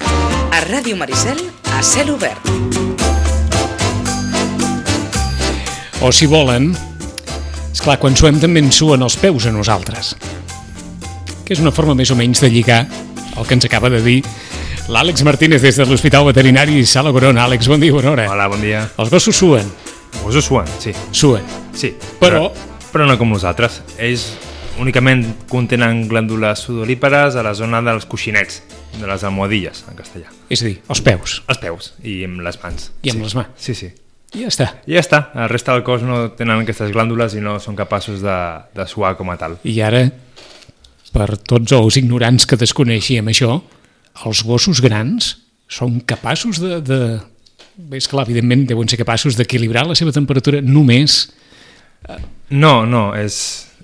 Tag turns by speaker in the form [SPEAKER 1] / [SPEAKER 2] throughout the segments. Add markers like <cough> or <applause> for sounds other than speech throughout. [SPEAKER 1] A Ràdio Maricel, a cel obert.
[SPEAKER 2] O si volen, és clar quan suem també ens suen els peus a nosaltres. Que és una forma més o menys de lligar el que ens acaba de dir l'Àlex Martínez des de l'Hospital Veterinari Sala Gorona. Àlex, bon dia, bona hora.
[SPEAKER 3] Hola, bon dia.
[SPEAKER 2] Els gossos suen,
[SPEAKER 3] Eh. Us ho suen, sí.
[SPEAKER 2] suen.
[SPEAKER 3] sí.
[SPEAKER 2] Però-
[SPEAKER 3] Però, però no com nosaltres. Ells únicament contenen glàndules sudolípares a la zona dels coixinets, de les almohadilles, en castellà.
[SPEAKER 2] És a dir, els peus
[SPEAKER 3] Els peus i amb les mans.
[SPEAKER 2] i amb les mans.
[SPEAKER 3] Sí, sí.
[SPEAKER 2] I ja està.
[SPEAKER 3] I ja està. El resta del cos no tenen aquestes glàndules i no són capaços de, de suar com a tal.
[SPEAKER 2] I ara, per tots els ignorants que desconeixíem això, els gossos grans són capaços de... de... Bé, És clar, evidentment, deuen ser capaços d'equilibrar la seva temperatura només
[SPEAKER 3] No, no, és,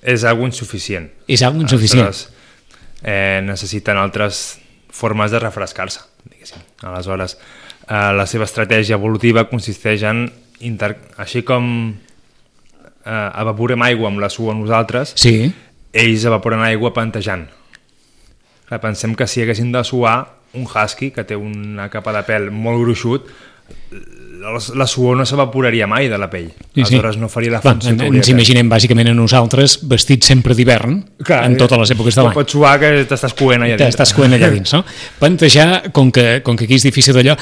[SPEAKER 3] és algo insuficient.
[SPEAKER 2] és alguna cosa insuficient.
[SPEAKER 3] Aleshores, eh, necessiten altres formes de refrescar-se, diguéssim. Aleshores, eh, la seva estratègia evolutiva consisteix en, inter... així com eh, evaporem aigua amb la sua nosaltres,
[SPEAKER 2] Sí,
[SPEAKER 3] ells evaporen aigua pantejant. Clar, pensem que si haguessin de suar un husky, que té una capa de pèl molt gruixut, la la suor no s'evaporaria mai de la pell.
[SPEAKER 2] sí, sí.
[SPEAKER 3] Aleshores no faria la
[SPEAKER 2] Clar,
[SPEAKER 3] funció. que
[SPEAKER 2] en-
[SPEAKER 3] hauria de
[SPEAKER 2] Ens
[SPEAKER 3] fer.
[SPEAKER 2] imaginem bàsicament a nosaltres vestits sempre d'hivern, en totes les èpoques de
[SPEAKER 3] eh, no
[SPEAKER 2] l'any.
[SPEAKER 3] Pots suar que t'estàs coent allà dintre.
[SPEAKER 2] T'estàs coent allà
[SPEAKER 3] <laughs>
[SPEAKER 2] dins, no? Pantejar, com que, com que aquí és difícil d'allò...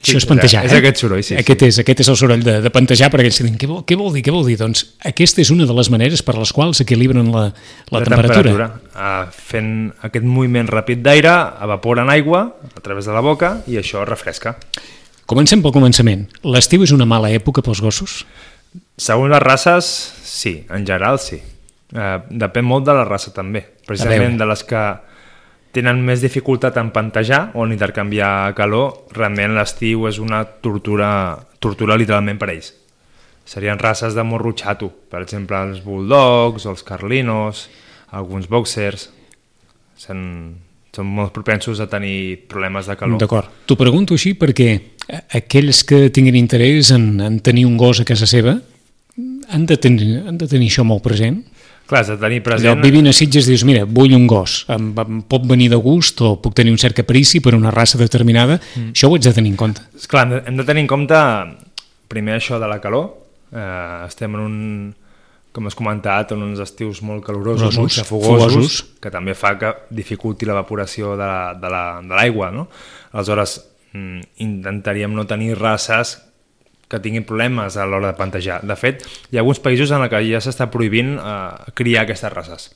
[SPEAKER 3] Sí,
[SPEAKER 2] Això és pantejar,
[SPEAKER 3] és
[SPEAKER 2] eh?
[SPEAKER 3] aquest soroll, sí, sí.
[SPEAKER 2] Aquest és, aquest és el soroll de, de pantejar, per aquells que diuen, què vol, què vol dir, què vol dir? Doncs aquesta és una de les maneres per les quals equilibren la, la, temperatura.
[SPEAKER 3] Uh, fent aquest moviment ràpid d'aire, evaporen aigua a través de la boca i això refresca.
[SPEAKER 2] Comencem pel començament. L'estiu és una mala època pels gossos?
[SPEAKER 3] Segons les races, sí, en general sí. Uh, depèn molt de la raça també. Precisament de les que tenen més dificultat en pantejar o en intercanviar calor, realment l'estiu és una tortura, tortura literalment per a ells. Serien races de morro xato, per exemple, els bulldogs, els carlinos, alguns boxers... Són, són molt propensos a tenir problemes de calor.
[SPEAKER 2] D'acord. T'ho pregunto així perquè a- aquells que tinguin interès en, en tenir un gos a casa seva han de tenir, han de tenir això molt present.
[SPEAKER 3] Clar, has de tenir
[SPEAKER 2] Allò,
[SPEAKER 3] present... eh?
[SPEAKER 2] vivint a Sitges dius, mira, vull un gos, em, em pot venir de gust o puc tenir un cert caprici per una raça determinada, mm. això ho haig de tenir en compte.
[SPEAKER 3] Esclar, hem de- hem de tenir en compte primer això de la calor. Eh, estem en un, com has comentat, en uns estius molt calorosos,
[SPEAKER 2] Calorosos,
[SPEAKER 3] molt xafogosos,
[SPEAKER 2] fogosos.
[SPEAKER 3] que també fa que dificulti l'evaporació de la- de la- de l'aigua. No? Aleshores, mm, intentaríem no tenir races que tinguin problemes a l'hora de plantejar. De fet, hi ha alguns països en què ja s'està prohibint eh, criar aquestes races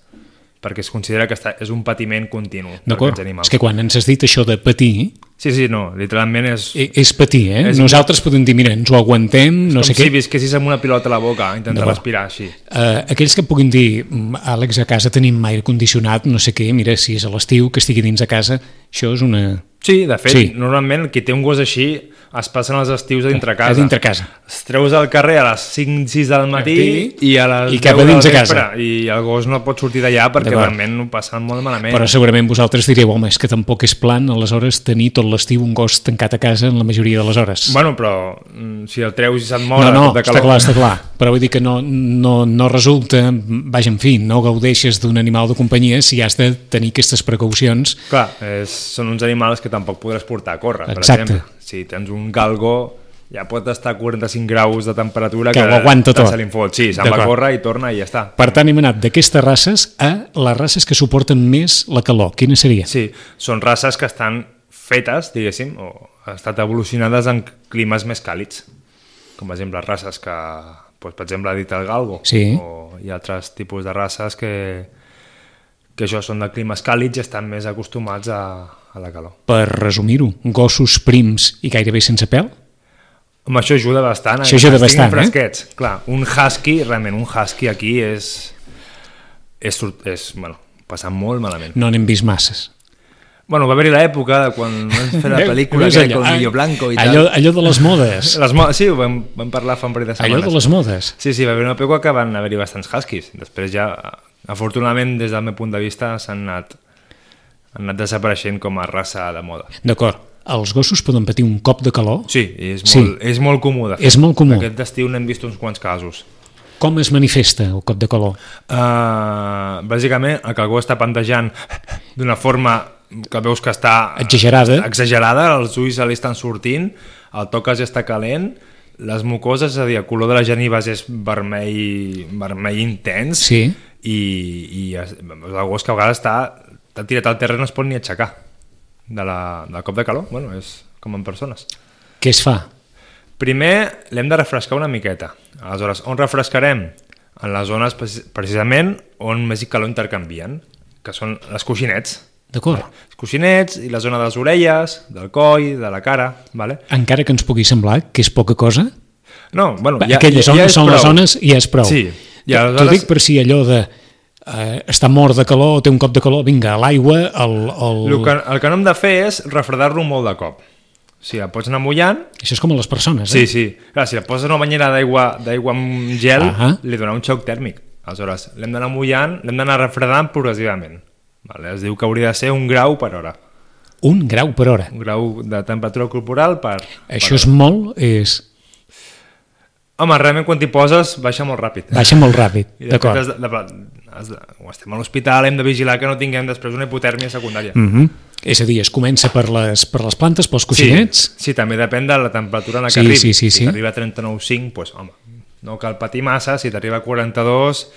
[SPEAKER 3] perquè es considera que està, és un patiment continu per
[SPEAKER 2] D'acord?
[SPEAKER 3] aquests animals.
[SPEAKER 2] És que quan ens has dit això de patir,
[SPEAKER 3] Sí, sí, no, literalment és,
[SPEAKER 2] e- és patir, eh?
[SPEAKER 3] És-
[SPEAKER 2] Nosaltres podem dir, mira, ens ho aguantem, no
[SPEAKER 3] com
[SPEAKER 2] sé
[SPEAKER 3] si
[SPEAKER 2] què.
[SPEAKER 3] visquessis amb una pilota a la boca, intentar
[SPEAKER 2] D'acord.
[SPEAKER 3] respirar així.
[SPEAKER 2] Uh, aquells que puguin dir "Mm, Àlex, a casa tenim aire condicionat, no sé què, mira, si és a l'estiu, que estigui dins de casa, això és una...
[SPEAKER 3] Sí, de fet,
[SPEAKER 2] Sí.
[SPEAKER 3] sí. normalment qui té un gos així es passen els estius a dintre
[SPEAKER 2] A
[SPEAKER 3] casa.
[SPEAKER 2] dintre casa.
[SPEAKER 3] Es treus al carrer a les 5-6 del matí
[SPEAKER 2] Matí,
[SPEAKER 3] i a les
[SPEAKER 2] i cap a
[SPEAKER 3] 10 del
[SPEAKER 2] dins de
[SPEAKER 3] vespre,
[SPEAKER 2] casa.
[SPEAKER 3] I el gos no pot sortir d'allà perquè
[SPEAKER 2] D'acord.
[SPEAKER 3] realment ho passen molt malament.
[SPEAKER 2] Però segurament vosaltres direu, home, és que tampoc és plan aleshores tenir tot l'estiu un gos tancat a casa en la majoria de les hores.
[SPEAKER 3] Bueno, però mm, si el treus i se't mor...
[SPEAKER 2] No, no,
[SPEAKER 3] de
[SPEAKER 2] està clar, està clar. Però vull dir que no, no, no resulta, vaja, en fi, no gaudeixes d'un animal de companyia si has de tenir aquestes precaucions.
[SPEAKER 3] Clar, és, són uns animals que tampoc podràs portar a córrer,
[SPEAKER 2] Exacte.
[SPEAKER 3] per exemple. Si tens un galgo, ja pot estar a 45 graus de temperatura
[SPEAKER 2] Que ho aguanta
[SPEAKER 3] tant
[SPEAKER 2] tot.
[SPEAKER 3] Se li fot. Sí, se'n va
[SPEAKER 2] D'acord.
[SPEAKER 3] a córrer i torna i ja està.
[SPEAKER 2] Per tant, hem anat d'aquestes races a les races que suporten més la calor. Quina seria?
[SPEAKER 3] Sí, són races que estan fetes, diguéssim, o han estat evolucionades en climes més càlids. Com per exemple, races que, doncs, per exemple, ha dit el galgo.
[SPEAKER 2] Sí.
[SPEAKER 3] O hi ha altres tipus de races que, que això són de climes càlids i estan més acostumats a, a la calor.
[SPEAKER 2] Per resumir-ho, gossos prims i gairebé sense pèl?
[SPEAKER 3] Home, això ajuda bastant. a
[SPEAKER 2] Això ajuda
[SPEAKER 3] que estiguin
[SPEAKER 2] bastant, eh?
[SPEAKER 3] fresquets. eh? Clar, un husky, realment, un husky aquí és... És, sort- és bueno, passant molt malament.
[SPEAKER 2] No n'hem vist masses.
[SPEAKER 3] Bueno, va haver-hi l'època de quan van fer la pel·lícula
[SPEAKER 2] Veus allò?
[SPEAKER 3] que era
[SPEAKER 2] Ah,
[SPEAKER 3] Colmillo Blanco i
[SPEAKER 2] allò,
[SPEAKER 3] tal.
[SPEAKER 2] Allò de les
[SPEAKER 3] <laughs>
[SPEAKER 2] modes.
[SPEAKER 3] Les mo sí, ho vam, vam parlar fa un parell de
[SPEAKER 2] allò
[SPEAKER 3] setmanes.
[SPEAKER 2] de les modes.
[SPEAKER 3] Sí, sí, va haver una època que van haver-hi bastants huskies. Després ja, afortunadament, des del meu punt de vista, s'han anat, han anat desapareixent com a raça de moda.
[SPEAKER 2] D'acord, els gossos poden patir un cop de calor?
[SPEAKER 3] Sí, i és molt,
[SPEAKER 2] Sí.
[SPEAKER 3] sí. És molt comú, de fet.
[SPEAKER 2] És molt comú.
[SPEAKER 3] Aquest estiu n'hem vist uns quants casos.
[SPEAKER 2] Com es manifesta el cop de calor?
[SPEAKER 3] Eh, Uh, bàsicament, el que algú està plantejant d'una forma que veus que està
[SPEAKER 2] Exagerada.
[SPEAKER 3] exagerada els ulls se li estan sortint, el toques ja està calent, les mucoses, és a dir, el color de les genives és vermell, vermell intens
[SPEAKER 2] Sí.
[SPEAKER 3] i, i es- el gos que a vegades està, està tirat al terra i no es pot ni aixecar de la, del cop de calor. Bueno, és com en persones.
[SPEAKER 2] Què es fa?
[SPEAKER 3] Primer l'hem de refrescar una miqueta. Aleshores, on refrescarem? En les zones precis- precisament on més i calor intercanvien, que són les coixinets.
[SPEAKER 2] D'acord.
[SPEAKER 3] Els coixinets i la zona de les orelles, del coll, de la cara, vale?
[SPEAKER 2] Encara que ens pugui semblar que és poca cosa,
[SPEAKER 3] No, bueno,
[SPEAKER 2] Va,
[SPEAKER 3] ja,
[SPEAKER 2] aquelles
[SPEAKER 3] ja,
[SPEAKER 2] zones
[SPEAKER 3] ja és
[SPEAKER 2] són les
[SPEAKER 3] prou.
[SPEAKER 2] zones i ja és prou.
[SPEAKER 3] Sí, i
[SPEAKER 2] T'ho- T'ho
[SPEAKER 3] aleshores-
[SPEAKER 2] dic per si allò de eh, està mort de calor o té un cop de calor, vinga, a l'aigua, el, el...
[SPEAKER 3] El que, el que no hem de fer és refredar-lo molt de cop. O sigui, el pots anar mullant...
[SPEAKER 2] Això és com a les persones,
[SPEAKER 3] Sí,
[SPEAKER 2] eh?
[SPEAKER 3] sí. Clar, si el poses en una banyera d'aigua d'aigua amb gel,
[SPEAKER 2] Ahà.
[SPEAKER 3] li donarà un xoc tèrmic. Aleshores, l'hem d'anar mullant, l'hem d'anar refredant progressivament. Vale? Es diu que hauria de ser un grau per hora.
[SPEAKER 2] Un grau per hora.
[SPEAKER 3] Un grau de temperatura corporal per...
[SPEAKER 2] Això és molt... És...
[SPEAKER 3] Home, realment quan t'hi poses baixa molt ràpid.
[SPEAKER 2] Baixa molt ràpid,
[SPEAKER 3] <laughs> I de fet,
[SPEAKER 2] d'acord.
[SPEAKER 3] has de, de, has de, quan estem a l'hospital, hem de vigilar que no tinguem després una hipotèrmia secundària.
[SPEAKER 2] Mm -hmm. És a dir, es comença per les, per les plantes, pels coixinets,
[SPEAKER 3] Sí, sí, també depèn de la temperatura en la
[SPEAKER 2] Sí,
[SPEAKER 3] que arribi.
[SPEAKER 2] sí, sí, sí.
[SPEAKER 3] Si t'arriba a 39,5, doncs, home, no cal patir massa. Si t'arriba a 42,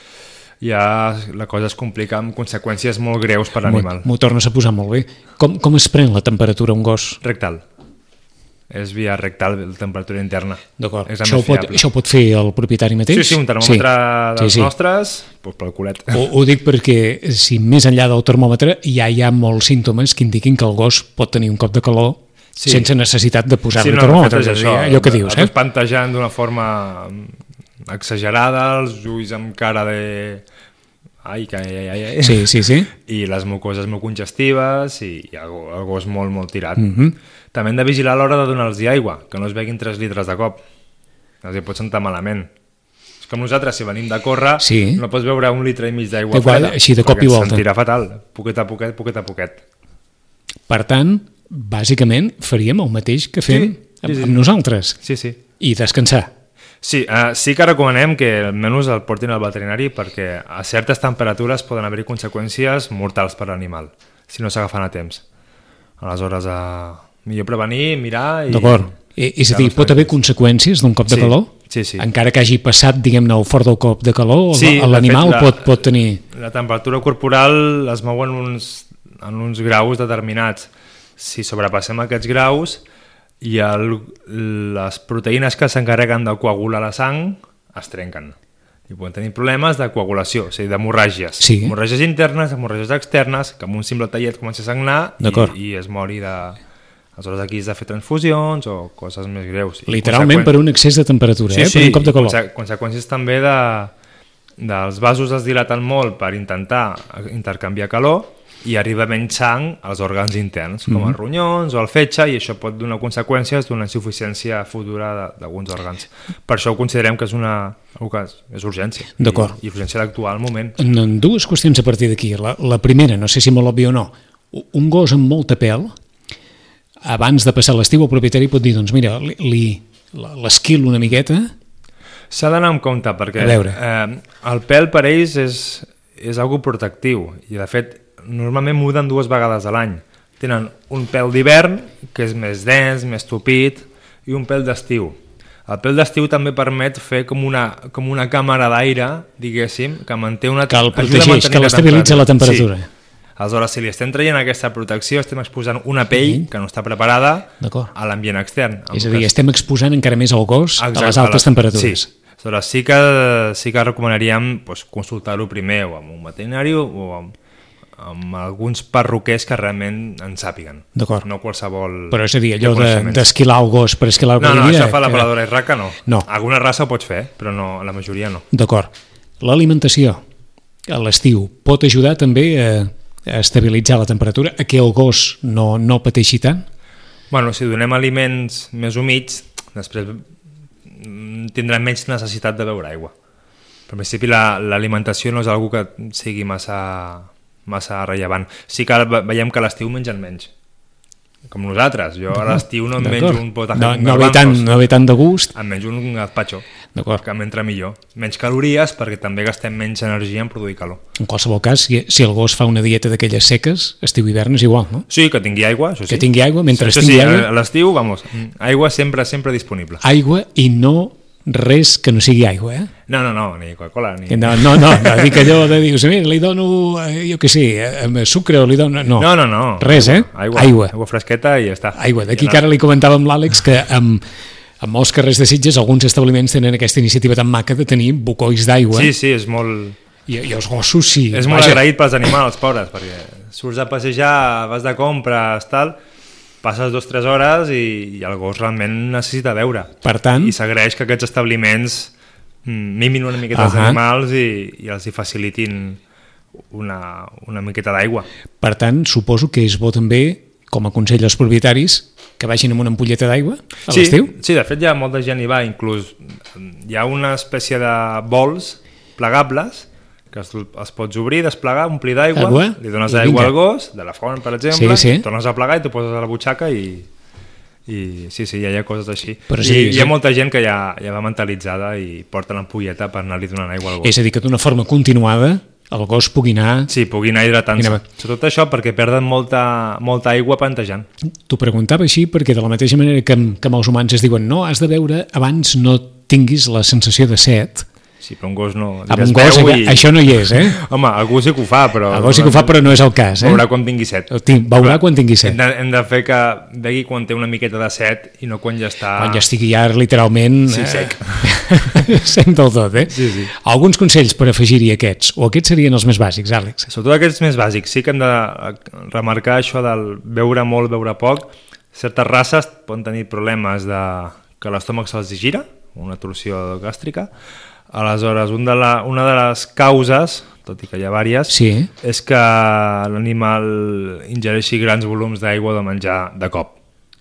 [SPEAKER 3] ja la cosa es complica amb conseqüències molt greus per l'animal.
[SPEAKER 2] m'ho tornes a posar molt bé. Com, com es pren la temperatura un gos?
[SPEAKER 3] Rectal. És via rectal, la temperatura interna.
[SPEAKER 2] D'acord,
[SPEAKER 3] És la
[SPEAKER 2] això, ho
[SPEAKER 3] més
[SPEAKER 2] pot,
[SPEAKER 3] fiable.
[SPEAKER 2] això ho pot fer el propietari mateix?
[SPEAKER 3] Sí, sí, un termòmetre sí. dels
[SPEAKER 2] sí, Oh, sí.
[SPEAKER 3] nostres, doncs pel culet. <laughs>
[SPEAKER 2] Ho, ho dic perquè si més enllà del termòmetre ja hi ha molts símptomes que indiquin que el gos pot tenir un cop de calor sí.
[SPEAKER 3] Sí.
[SPEAKER 2] sense necessitat de
[SPEAKER 3] Sí,
[SPEAKER 2] posar-li sí,
[SPEAKER 3] no,
[SPEAKER 2] no, termòmetre.
[SPEAKER 3] de fet,
[SPEAKER 2] És això, allò que dius, eh?
[SPEAKER 3] Els pantejant d'una forma mm, exagerada, els ulls amb cara de... Ai, que... Ai, ai, ai.
[SPEAKER 2] Sí, sí, sí.
[SPEAKER 3] I les mucoses molt congestives i, i el, go- el gos molt, molt tirat. Mm
[SPEAKER 2] Mhm.
[SPEAKER 3] -hmm. També hem de vigilar a l'hora de donar-los aigua, que no es beguin 3 litres de cop. Els hi pot sentar malament. És com nosaltres, si venim de córrer,
[SPEAKER 2] Sí.
[SPEAKER 3] no pots beure un litre i mig d'aigua
[SPEAKER 2] D'aigua,
[SPEAKER 3] freda.
[SPEAKER 2] així de cop
[SPEAKER 3] perquè
[SPEAKER 2] i
[SPEAKER 3] et
[SPEAKER 2] volta.
[SPEAKER 3] sentirà fatal. Poquet a poquet, poquet a poquet.
[SPEAKER 2] Per tant, bàsicament faríem el mateix que fem sí,
[SPEAKER 3] Sí, sí,
[SPEAKER 2] sí,
[SPEAKER 3] sí.
[SPEAKER 2] amb, amb nosaltres
[SPEAKER 3] Sí, sí.
[SPEAKER 2] i descansar.
[SPEAKER 3] Sí, uh, sí que recomanem que almenys el portin al veterinari perquè a certes temperatures poden haver-hi conseqüències mortals per a l'animal si no s'agafen a temps. Aleshores, uh, millor prevenir, mirar... I...
[SPEAKER 2] D'acord. I- És a dir, pot haver conseqüències d'un cop de
[SPEAKER 3] Sí,
[SPEAKER 2] calor?
[SPEAKER 3] sí, sí.
[SPEAKER 2] Encara que hagi passat, diguem-ne, el fort del cop de calor,
[SPEAKER 3] Sí,
[SPEAKER 2] sí,
[SPEAKER 3] de fet,
[SPEAKER 2] l'animal
[SPEAKER 3] la-
[SPEAKER 2] pot, pot tenir...
[SPEAKER 3] La temperatura corporal es mou en uns, en uns graus determinats. Si sobrepassem aquests graus, i el, les proteïnes que s'encarreguen de coagular la sang es trenquen. I poden tenir problemes de coagulació, o sigui, d'hemorràgies.
[SPEAKER 2] Sí.
[SPEAKER 3] Hemorràgies internes, hemorràgies externes, que amb un simple tallet comença a sangrar i,
[SPEAKER 2] D'acord.
[SPEAKER 3] i es mori de... Aleshores aquí has de fer transfusions o coses més greus. I
[SPEAKER 2] Literalment
[SPEAKER 3] conseqüent-
[SPEAKER 2] per un excés de temperatura, eh? per un cop de
[SPEAKER 3] i
[SPEAKER 2] calor.
[SPEAKER 3] conse- conseqüències també de, dels vasos es dilaten molt per intentar intercanviar calor i arriba menys sang als òrgans interns,
[SPEAKER 2] Mm-hmm.
[SPEAKER 3] com els ronyons o el fetge, i això pot donar conseqüències d'una insuficiència futura de- d'alguns òrgans. Per això ho considerem que és una algú que és- és urgència. I-
[SPEAKER 2] D'acord.
[SPEAKER 3] I, urgència d'actuar al moment.
[SPEAKER 2] En, en dues qüestions a partir d'aquí. La, la primera, no sé si molt òbvia o no, u- un gos amb molta pèl, abans de passar l'estiu el propietari pot dir, doncs mira, li- li- la- l'esquilo una miqueta,
[SPEAKER 3] S'ha d'anar amb compte, perquè
[SPEAKER 2] A veure.
[SPEAKER 3] Eh, el pèl per ells és, és algo protectiu, i de fet normalment muden dues vegades a l'any. Tenen un pèl d'hivern, que és més dens, més tupit, i un pèl d'estiu. El pèl d'estiu també permet fer com una, com una càmera d'aire, diguéssim, que manté una...
[SPEAKER 2] Que el
[SPEAKER 3] ajuda a
[SPEAKER 2] protegeix,
[SPEAKER 3] mantenir
[SPEAKER 2] que l'estabilitza la temperatura.
[SPEAKER 3] Sí. Aleshores, si li estem traient aquesta protecció, estem exposant una pell que no està preparada
[SPEAKER 2] D'acord.
[SPEAKER 3] a l'ambient extern. en
[SPEAKER 2] és a
[SPEAKER 3] aquest
[SPEAKER 2] dir, estem exposant encara més el gos a les
[SPEAKER 3] Exacte,
[SPEAKER 2] altes temperatures.
[SPEAKER 3] Sí. Aleshores, sí que, sí que recomanaríem pues, consultar-ho primer o amb un veterinari o amb, amb alguns perruquers que realment en sàpiguen.
[SPEAKER 2] D'acord.
[SPEAKER 3] No qualsevol...
[SPEAKER 2] Però és a dir, allò de-
[SPEAKER 3] coneixements.
[SPEAKER 2] d'esquilar de, el gos per esquilar el
[SPEAKER 3] No, no,
[SPEAKER 2] gos,
[SPEAKER 3] això
[SPEAKER 2] mira,
[SPEAKER 3] fa la
[SPEAKER 2] que-
[SPEAKER 3] paladora i raca, no.
[SPEAKER 2] eh? No.
[SPEAKER 3] Alguna raça ho pots fer, però no, la majoria no.
[SPEAKER 2] D'acord. L'alimentació a l'estiu pot ajudar també a, a estabilitzar la temperatura, a que el gos no, no pateixi tant?
[SPEAKER 3] Bueno, si donem aliments més humits, després mm, tindran menys necessitat de beure aigua. Però en principi la- l'alimentació la, no és algo que sigui massa, massa rellevant. Sí que ve- veiem que a l'estiu mengen menys. com nosaltres. Jo a l'estiu no em menjo
[SPEAKER 2] D'acord.
[SPEAKER 3] un potaje
[SPEAKER 2] No,
[SPEAKER 3] amb
[SPEAKER 2] no, ve tant,
[SPEAKER 3] garbanzos.
[SPEAKER 2] no ve tant de gust.
[SPEAKER 3] Em menjo un gazpacho,
[SPEAKER 2] D'acord.
[SPEAKER 3] que m'entra millor. Menys calories perquè també gastem menys energia en produir calor.
[SPEAKER 2] En qualsevol cas, si, si el gos fa una dieta d'aquelles seques, estiu-hivern és igual, no?
[SPEAKER 3] Sí, que tingui aigua, això sí.
[SPEAKER 2] Que tingui aigua, mentre
[SPEAKER 3] això
[SPEAKER 2] tingui
[SPEAKER 3] sí,
[SPEAKER 2] aigua-
[SPEAKER 3] a l'estiu, vamos, aigua sempre, sempre disponible.
[SPEAKER 2] Aigua i no res que no sigui aigua, eh?
[SPEAKER 3] No, no, no, ni Coca-Cola, ni...
[SPEAKER 2] Que No, no, no, no dic allò de dius, mira, li dono, eh, jo què sé, eh, amb sucre o li dono... No,
[SPEAKER 3] No, no, no.
[SPEAKER 2] Oh. Res, eh?
[SPEAKER 3] Aigua,
[SPEAKER 2] Aigua.
[SPEAKER 3] aigua. aigua fresqueta i ja està.
[SPEAKER 2] Aigua. D'aquí
[SPEAKER 3] I
[SPEAKER 2] que ara li comentava amb l'Àlex que amb, amb molts carrers de Sitges alguns establiments tenen aquesta iniciativa tan maca de tenir bucois d'aigua
[SPEAKER 3] Sí, sí, és molt...
[SPEAKER 2] i, i els gossos sí.
[SPEAKER 3] És molt
[SPEAKER 2] Vaja,
[SPEAKER 3] agraït pels animals, pobres, perquè surts a passejar, vas de compres, tal, passes dues o tres hores i, i el gos realment necessita veure.
[SPEAKER 2] Per tant,
[SPEAKER 3] I s'agraeix que aquests establiments mm, mimin una miqueta uh -huh. els
[SPEAKER 2] Ahà.
[SPEAKER 3] animals i, i els hi facilitin una, una miqueta d'aigua.
[SPEAKER 2] per tant, suposo que és bo també, com a consell als propietaris, que vagin amb una ampolleta d'aigua a
[SPEAKER 3] sí,
[SPEAKER 2] l'estiu.
[SPEAKER 3] Sí, de fet ja molta gent hi va, inclús mm, hi ha una espècie de bols plegables que es, es pots obrir, desplegar, omplir d'aigua,
[SPEAKER 2] Aigua,
[SPEAKER 3] li dones
[SPEAKER 2] i vinga.
[SPEAKER 3] aigua al gos, de la font, per exemple,
[SPEAKER 2] Sí, sí.
[SPEAKER 3] tornes a plegar i t'ho poses a la butxaca i, i sí, sí, ja hi ha coses així.
[SPEAKER 2] Però
[SPEAKER 3] I,
[SPEAKER 2] sí,
[SPEAKER 3] hi ha
[SPEAKER 2] sí.
[SPEAKER 3] molta gent que ja, ja va mentalitzada i porta l'ampolleta per anar-li donant aigua al gos.
[SPEAKER 2] És a dir, que d'una forma continuada el gos pugui anar...
[SPEAKER 3] Sí, pugui anar hidratant-se.
[SPEAKER 2] Mira, va.
[SPEAKER 3] Sobretot això perquè perden molta, molta aigua pantejant.
[SPEAKER 2] T'ho preguntava així perquè de la mateixa manera que, amb- que amb els humans es diuen no, has de beure abans no tinguis la sensació de set.
[SPEAKER 3] Sí, però un gos no...
[SPEAKER 2] Amb
[SPEAKER 3] diràs,
[SPEAKER 2] un gos
[SPEAKER 3] "Beu",
[SPEAKER 2] i... això no hi és, eh?
[SPEAKER 3] Home, algú sí que ho fa, però...
[SPEAKER 2] El gos sí que ho fa, però no és el cas, eh?
[SPEAKER 3] Veurà quan tingui set.
[SPEAKER 2] El tinc- veurà quan tingui set.
[SPEAKER 3] Hem de, hem de fer que begui quan té una miqueta de set i no quan ja està...
[SPEAKER 2] Quan ja estigui ja literalment...
[SPEAKER 3] Sí, sec.
[SPEAKER 2] Eh? <laughs> sec del tot, eh?
[SPEAKER 3] Sí, sí.
[SPEAKER 2] Alguns consells per afegir-hi aquests, o aquests serien els més bàsics, Àlex?
[SPEAKER 3] Sobretot aquests més bàsics. Sí que hem de remarcar això del beure molt, beure poc. Certes races poden tenir problemes de que l'estómac se'ls gira, una torsió gàstrica. Aleshores, un de la, una de les causes, tot i que hi ha diverses,
[SPEAKER 2] Sí, eh?
[SPEAKER 3] és que l'animal ingereixi grans volums d'aigua o de menjar de cop.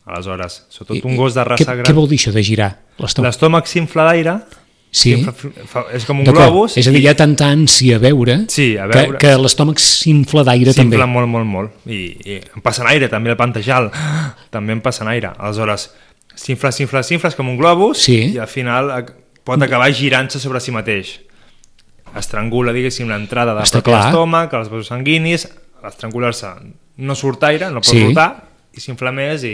[SPEAKER 3] Aleshores, sobretot un gos de raça
[SPEAKER 2] què,
[SPEAKER 3] gran...
[SPEAKER 2] Què vol dir això de girar l'estómac?
[SPEAKER 3] L'estómac s'infla d'aire,
[SPEAKER 2] Sí,
[SPEAKER 3] s'infla- fa- és com un
[SPEAKER 2] D'acord.
[SPEAKER 3] globus,
[SPEAKER 2] És a dir, hi ha tanta ànsia a beure,
[SPEAKER 3] Sí, a
[SPEAKER 2] que,
[SPEAKER 3] veure.
[SPEAKER 2] que l'estómac s'infla d'aire també.
[SPEAKER 3] s'infla molt, molt, molt. I, I em passa en aire, també el pantejal, <gasps> també em passa en aire. Aleshores, s'infla, s'infla, s'infla, és com un globus,
[SPEAKER 2] Sí.
[SPEAKER 3] i al final ac- pot acabar girant-se sobre si mateix. Estrangula, diguéssim, l'entrada de
[SPEAKER 2] Està clar.
[SPEAKER 3] l'estómac, els vasos sanguinis, a estrangular-se no surt aire, no pot
[SPEAKER 2] Sí.
[SPEAKER 3] sí. rotar, i s'infla més i,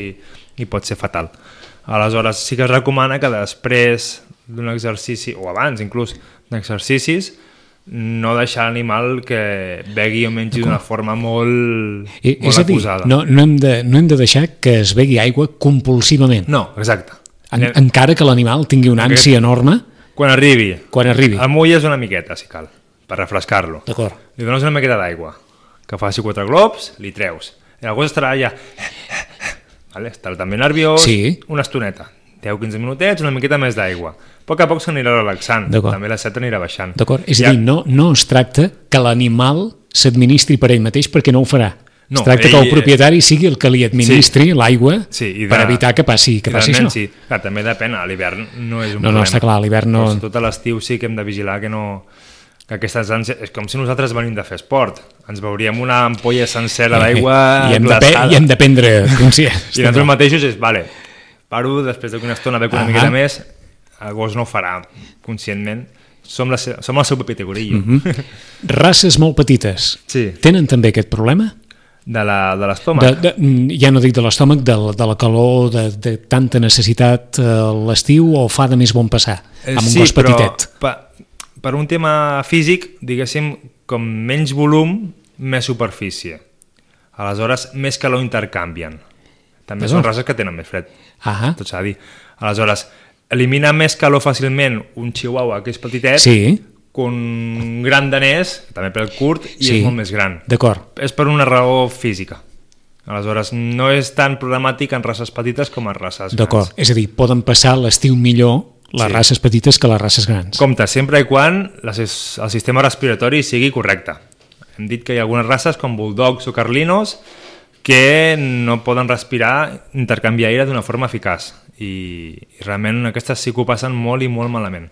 [SPEAKER 3] i pot ser fatal. Aleshores, sí que es recomana que després d'un exercici, o abans inclús, d'exercicis, no deixar l'animal que begui o mengi d'una forma molt,
[SPEAKER 2] I,
[SPEAKER 3] molt
[SPEAKER 2] Eh, és a dir,
[SPEAKER 3] acusada.
[SPEAKER 2] no, no, hem de, no hem de deixar que es begui aigua compulsivament,
[SPEAKER 3] no, exacte.
[SPEAKER 2] en, encara que l'animal tingui una ànsia enorme
[SPEAKER 3] Quan arribi,
[SPEAKER 2] quan arribi.
[SPEAKER 3] el mulles una miqueta, si cal, per refrescar-lo.
[SPEAKER 2] D'acord.
[SPEAKER 3] Li dones una miqueta d'aigua, que faci quatre globs, li treus. I el gos estarà allà... Vale? Estarà també nerviós,
[SPEAKER 2] Sí.
[SPEAKER 3] una estoneta. 10-15 minutets, una miqueta més d'aigua. A poc a poc s'anirà relaxant.
[SPEAKER 2] D'acord.
[SPEAKER 3] També la set anirà baixant.
[SPEAKER 2] D'acord? És
[SPEAKER 3] Ja-
[SPEAKER 2] a dir, no, no es tracta que l'animal s'administri per ell mateix perquè no ho farà.
[SPEAKER 3] No,
[SPEAKER 2] es tracta que
[SPEAKER 3] ell-
[SPEAKER 2] el propietari sigui el que li administri sí, l'aigua
[SPEAKER 3] Sí, i de-
[SPEAKER 2] per evitar que passi, que
[SPEAKER 3] I
[SPEAKER 2] passi
[SPEAKER 3] realment
[SPEAKER 2] això.
[SPEAKER 3] Sí. Clar, també depèn, a l'hivern no és un
[SPEAKER 2] No,
[SPEAKER 3] problema.
[SPEAKER 2] no, està clar, a l'hivern no-
[SPEAKER 3] Però Sobretot a l'estiu sí que hem de vigilar que no... Que aquestes ànsies... És com si nosaltres venim de fer esport. Ens veuríem una ampolla sencera d'aigua
[SPEAKER 2] Eh, I, hem de, pe-
[SPEAKER 3] glaçada.
[SPEAKER 2] I hem de prendre consciència.
[SPEAKER 3] <laughs> I nosaltres mateixos és, vale, paro, després d'una estona bec una
[SPEAKER 2] Ahà.
[SPEAKER 3] miqueta més, el gos no ho farà conscientment. Som, la, se- som el seu paper tegorillo.
[SPEAKER 2] Mhm.
[SPEAKER 3] Mm -hmm.
[SPEAKER 2] Races molt petites
[SPEAKER 3] Sí.
[SPEAKER 2] tenen també aquest problema?
[SPEAKER 3] De la- de
[SPEAKER 2] De,
[SPEAKER 3] l'estómac.
[SPEAKER 2] de, mm, ja no dic de l'estómac, de, la- de la calor, de, de tanta necessitat eh, a l'estiu o fa de més bon passar
[SPEAKER 3] Eh,
[SPEAKER 2] amb un gos petitet?
[SPEAKER 3] Però, per, per un tema físic, diguéssim, com menys volum, més superfície. Aleshores, més calor intercanvien. També són races que tenen més fred,
[SPEAKER 2] Ah,
[SPEAKER 3] tot s'ha de dir. Aleshores, elimina més calor fàcilment un chihuahua que és petitet
[SPEAKER 2] sí,
[SPEAKER 3] que un gran danès, que també pel curt, i
[SPEAKER 2] Sí.
[SPEAKER 3] és molt més gran
[SPEAKER 2] d'acord.
[SPEAKER 3] és per una raó física. Aleshores, no és tan problemàtic en races petites com en races
[SPEAKER 2] D'acord,
[SPEAKER 3] grans.
[SPEAKER 2] és a dir, poden passar l'estiu millor les
[SPEAKER 3] Sí.
[SPEAKER 2] sí. races petites que les races grans.
[SPEAKER 3] Compte, sempre i quan les, el sistema respiratori sigui correcte. Hem dit que hi ha algunes races, com bulldogs o carlinos, que no poden respirar, intercanviar aire d'una forma eficaç. I, I realment aquestes sí que ho passen molt i molt malament.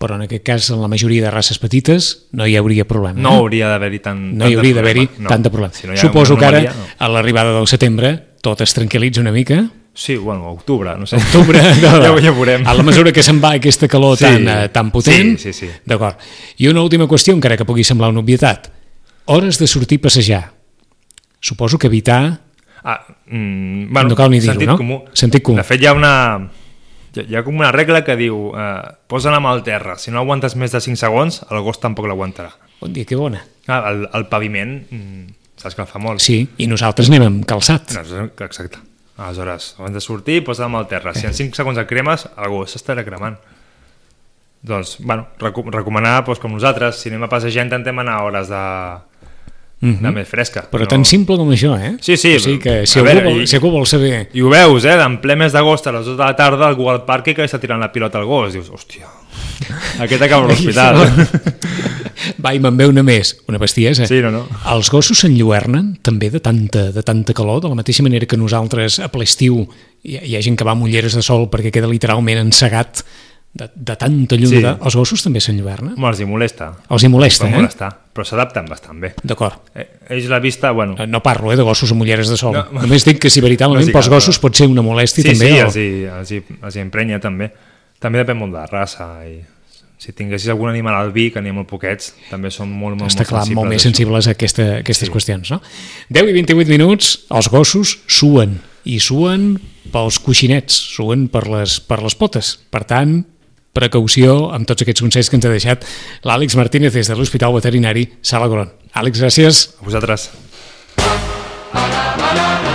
[SPEAKER 2] Però en aquest cas, en la majoria de races petites, no hi hauria problema. eh?
[SPEAKER 3] Mm. No hauria d'haver-hi tant
[SPEAKER 2] no hi hauria d'haver-hi tant de problema. Suposo que ara, a l'arribada del setembre, tot es tranquil·litza una mica.
[SPEAKER 3] Sí, bueno, octubre, no
[SPEAKER 2] <laughs>
[SPEAKER 3] sé.
[SPEAKER 2] Octubre,
[SPEAKER 3] <laughs> ja, ho- ja ho veurem.
[SPEAKER 2] A la mesura que se'n va aquesta calor
[SPEAKER 3] Sí.
[SPEAKER 2] sí. tan, eh, tan potent.
[SPEAKER 3] Sí, sí, sí.
[SPEAKER 2] D'acord. I una última qüestió, encara que pugui semblar una obvietat. Hores de sortir a passejar. Suposo que evitar...
[SPEAKER 3] Ah, mm, bueno,
[SPEAKER 2] No cal ni dir-ho,
[SPEAKER 3] sentit
[SPEAKER 2] no?
[SPEAKER 3] Comú.
[SPEAKER 2] Sentit comú.
[SPEAKER 3] De fet, hi ha una... Hi ha- hi ha com una regla que diu eh, posa la mà al terra, si no aguantes més de 5 segons, el gos tampoc l'aguantarà.
[SPEAKER 2] Bon dia, que bona.
[SPEAKER 3] Ah, el, el paviment, mm, saps que el fa molt.
[SPEAKER 2] Sí, i nosaltres anem amb calçat.
[SPEAKER 3] No, exacte. Aleshores, abans de sortir, posa la mà al terra. Si en 5 segons et cremes, el gos s'estarà cremant. Doncs, bueno, recu recomanar, doncs, com nosaltres, si anem a passejar, intentem anar a hores de, mm -hmm. de més fresca.
[SPEAKER 2] Mhm. Però tan simple com això, eh?
[SPEAKER 3] Sí, sí,
[SPEAKER 2] O sigui que si
[SPEAKER 3] a
[SPEAKER 2] algú,
[SPEAKER 3] veure,
[SPEAKER 2] vol,
[SPEAKER 3] i-
[SPEAKER 2] si algú vol saber...
[SPEAKER 3] I ho veus, eh? En ple mes d'agost a les 2 de la tarda algú al parc que està tirant la pilota al gos. Dius, hòstia, aquest acaba
[SPEAKER 2] <laughs>
[SPEAKER 3] a l'hospital.
[SPEAKER 2] Va, i me'n ve una més, una bestiesa.
[SPEAKER 3] Sí, no, no.
[SPEAKER 2] Els gossos s'enlluernen també de tanta, de tanta calor, de la mateixa manera que nosaltres a ple estiu hi, ha- hi ha gent que va amb ulleres de sol perquè queda literalment encegat de, de tanta llum.
[SPEAKER 3] Sí.
[SPEAKER 2] Sí. De... Els gossos també s'enlluernen?
[SPEAKER 3] Home, els hi molesta.
[SPEAKER 2] Els hi molesta,
[SPEAKER 3] Està,
[SPEAKER 2] eh?
[SPEAKER 3] molestar, però s'adapten bastant bé.
[SPEAKER 2] D'acord.
[SPEAKER 3] Eh, Ells la vista, bueno...
[SPEAKER 2] No- No parlo eh, de gossos amb ulleres de sol.
[SPEAKER 3] No.
[SPEAKER 2] No. Només dic que si
[SPEAKER 3] No
[SPEAKER 2] veritablement
[SPEAKER 3] s'hi
[SPEAKER 2] pels
[SPEAKER 3] cal,
[SPEAKER 2] gossos
[SPEAKER 3] però.
[SPEAKER 2] pot ser una molèstia
[SPEAKER 3] sí,
[SPEAKER 2] també.
[SPEAKER 3] sí,
[SPEAKER 2] o-
[SPEAKER 3] els, hi, els, hi, els hi emprenya també. També depèn molt de la raça. I si tinguessis algun animal al vi, que n'hi ha molt poquets, també són molt, molt,
[SPEAKER 2] Està
[SPEAKER 3] molt
[SPEAKER 2] clar,
[SPEAKER 3] sensibles.
[SPEAKER 2] molt més
[SPEAKER 3] a això.
[SPEAKER 2] sensibles a aquesta, aquestes sí. qüestions, no? 10 i 28 minuts, els gossos suen, i suen pels coixinets, suen per les, per les potes. Per tant, precaució amb tots aquests consells que ens ha deixat l'Àlex Martínez des de l'Hospital Veterinari Sala Colón. Àlex, gràcies.
[SPEAKER 3] A vosaltres.
[SPEAKER 4] Hola,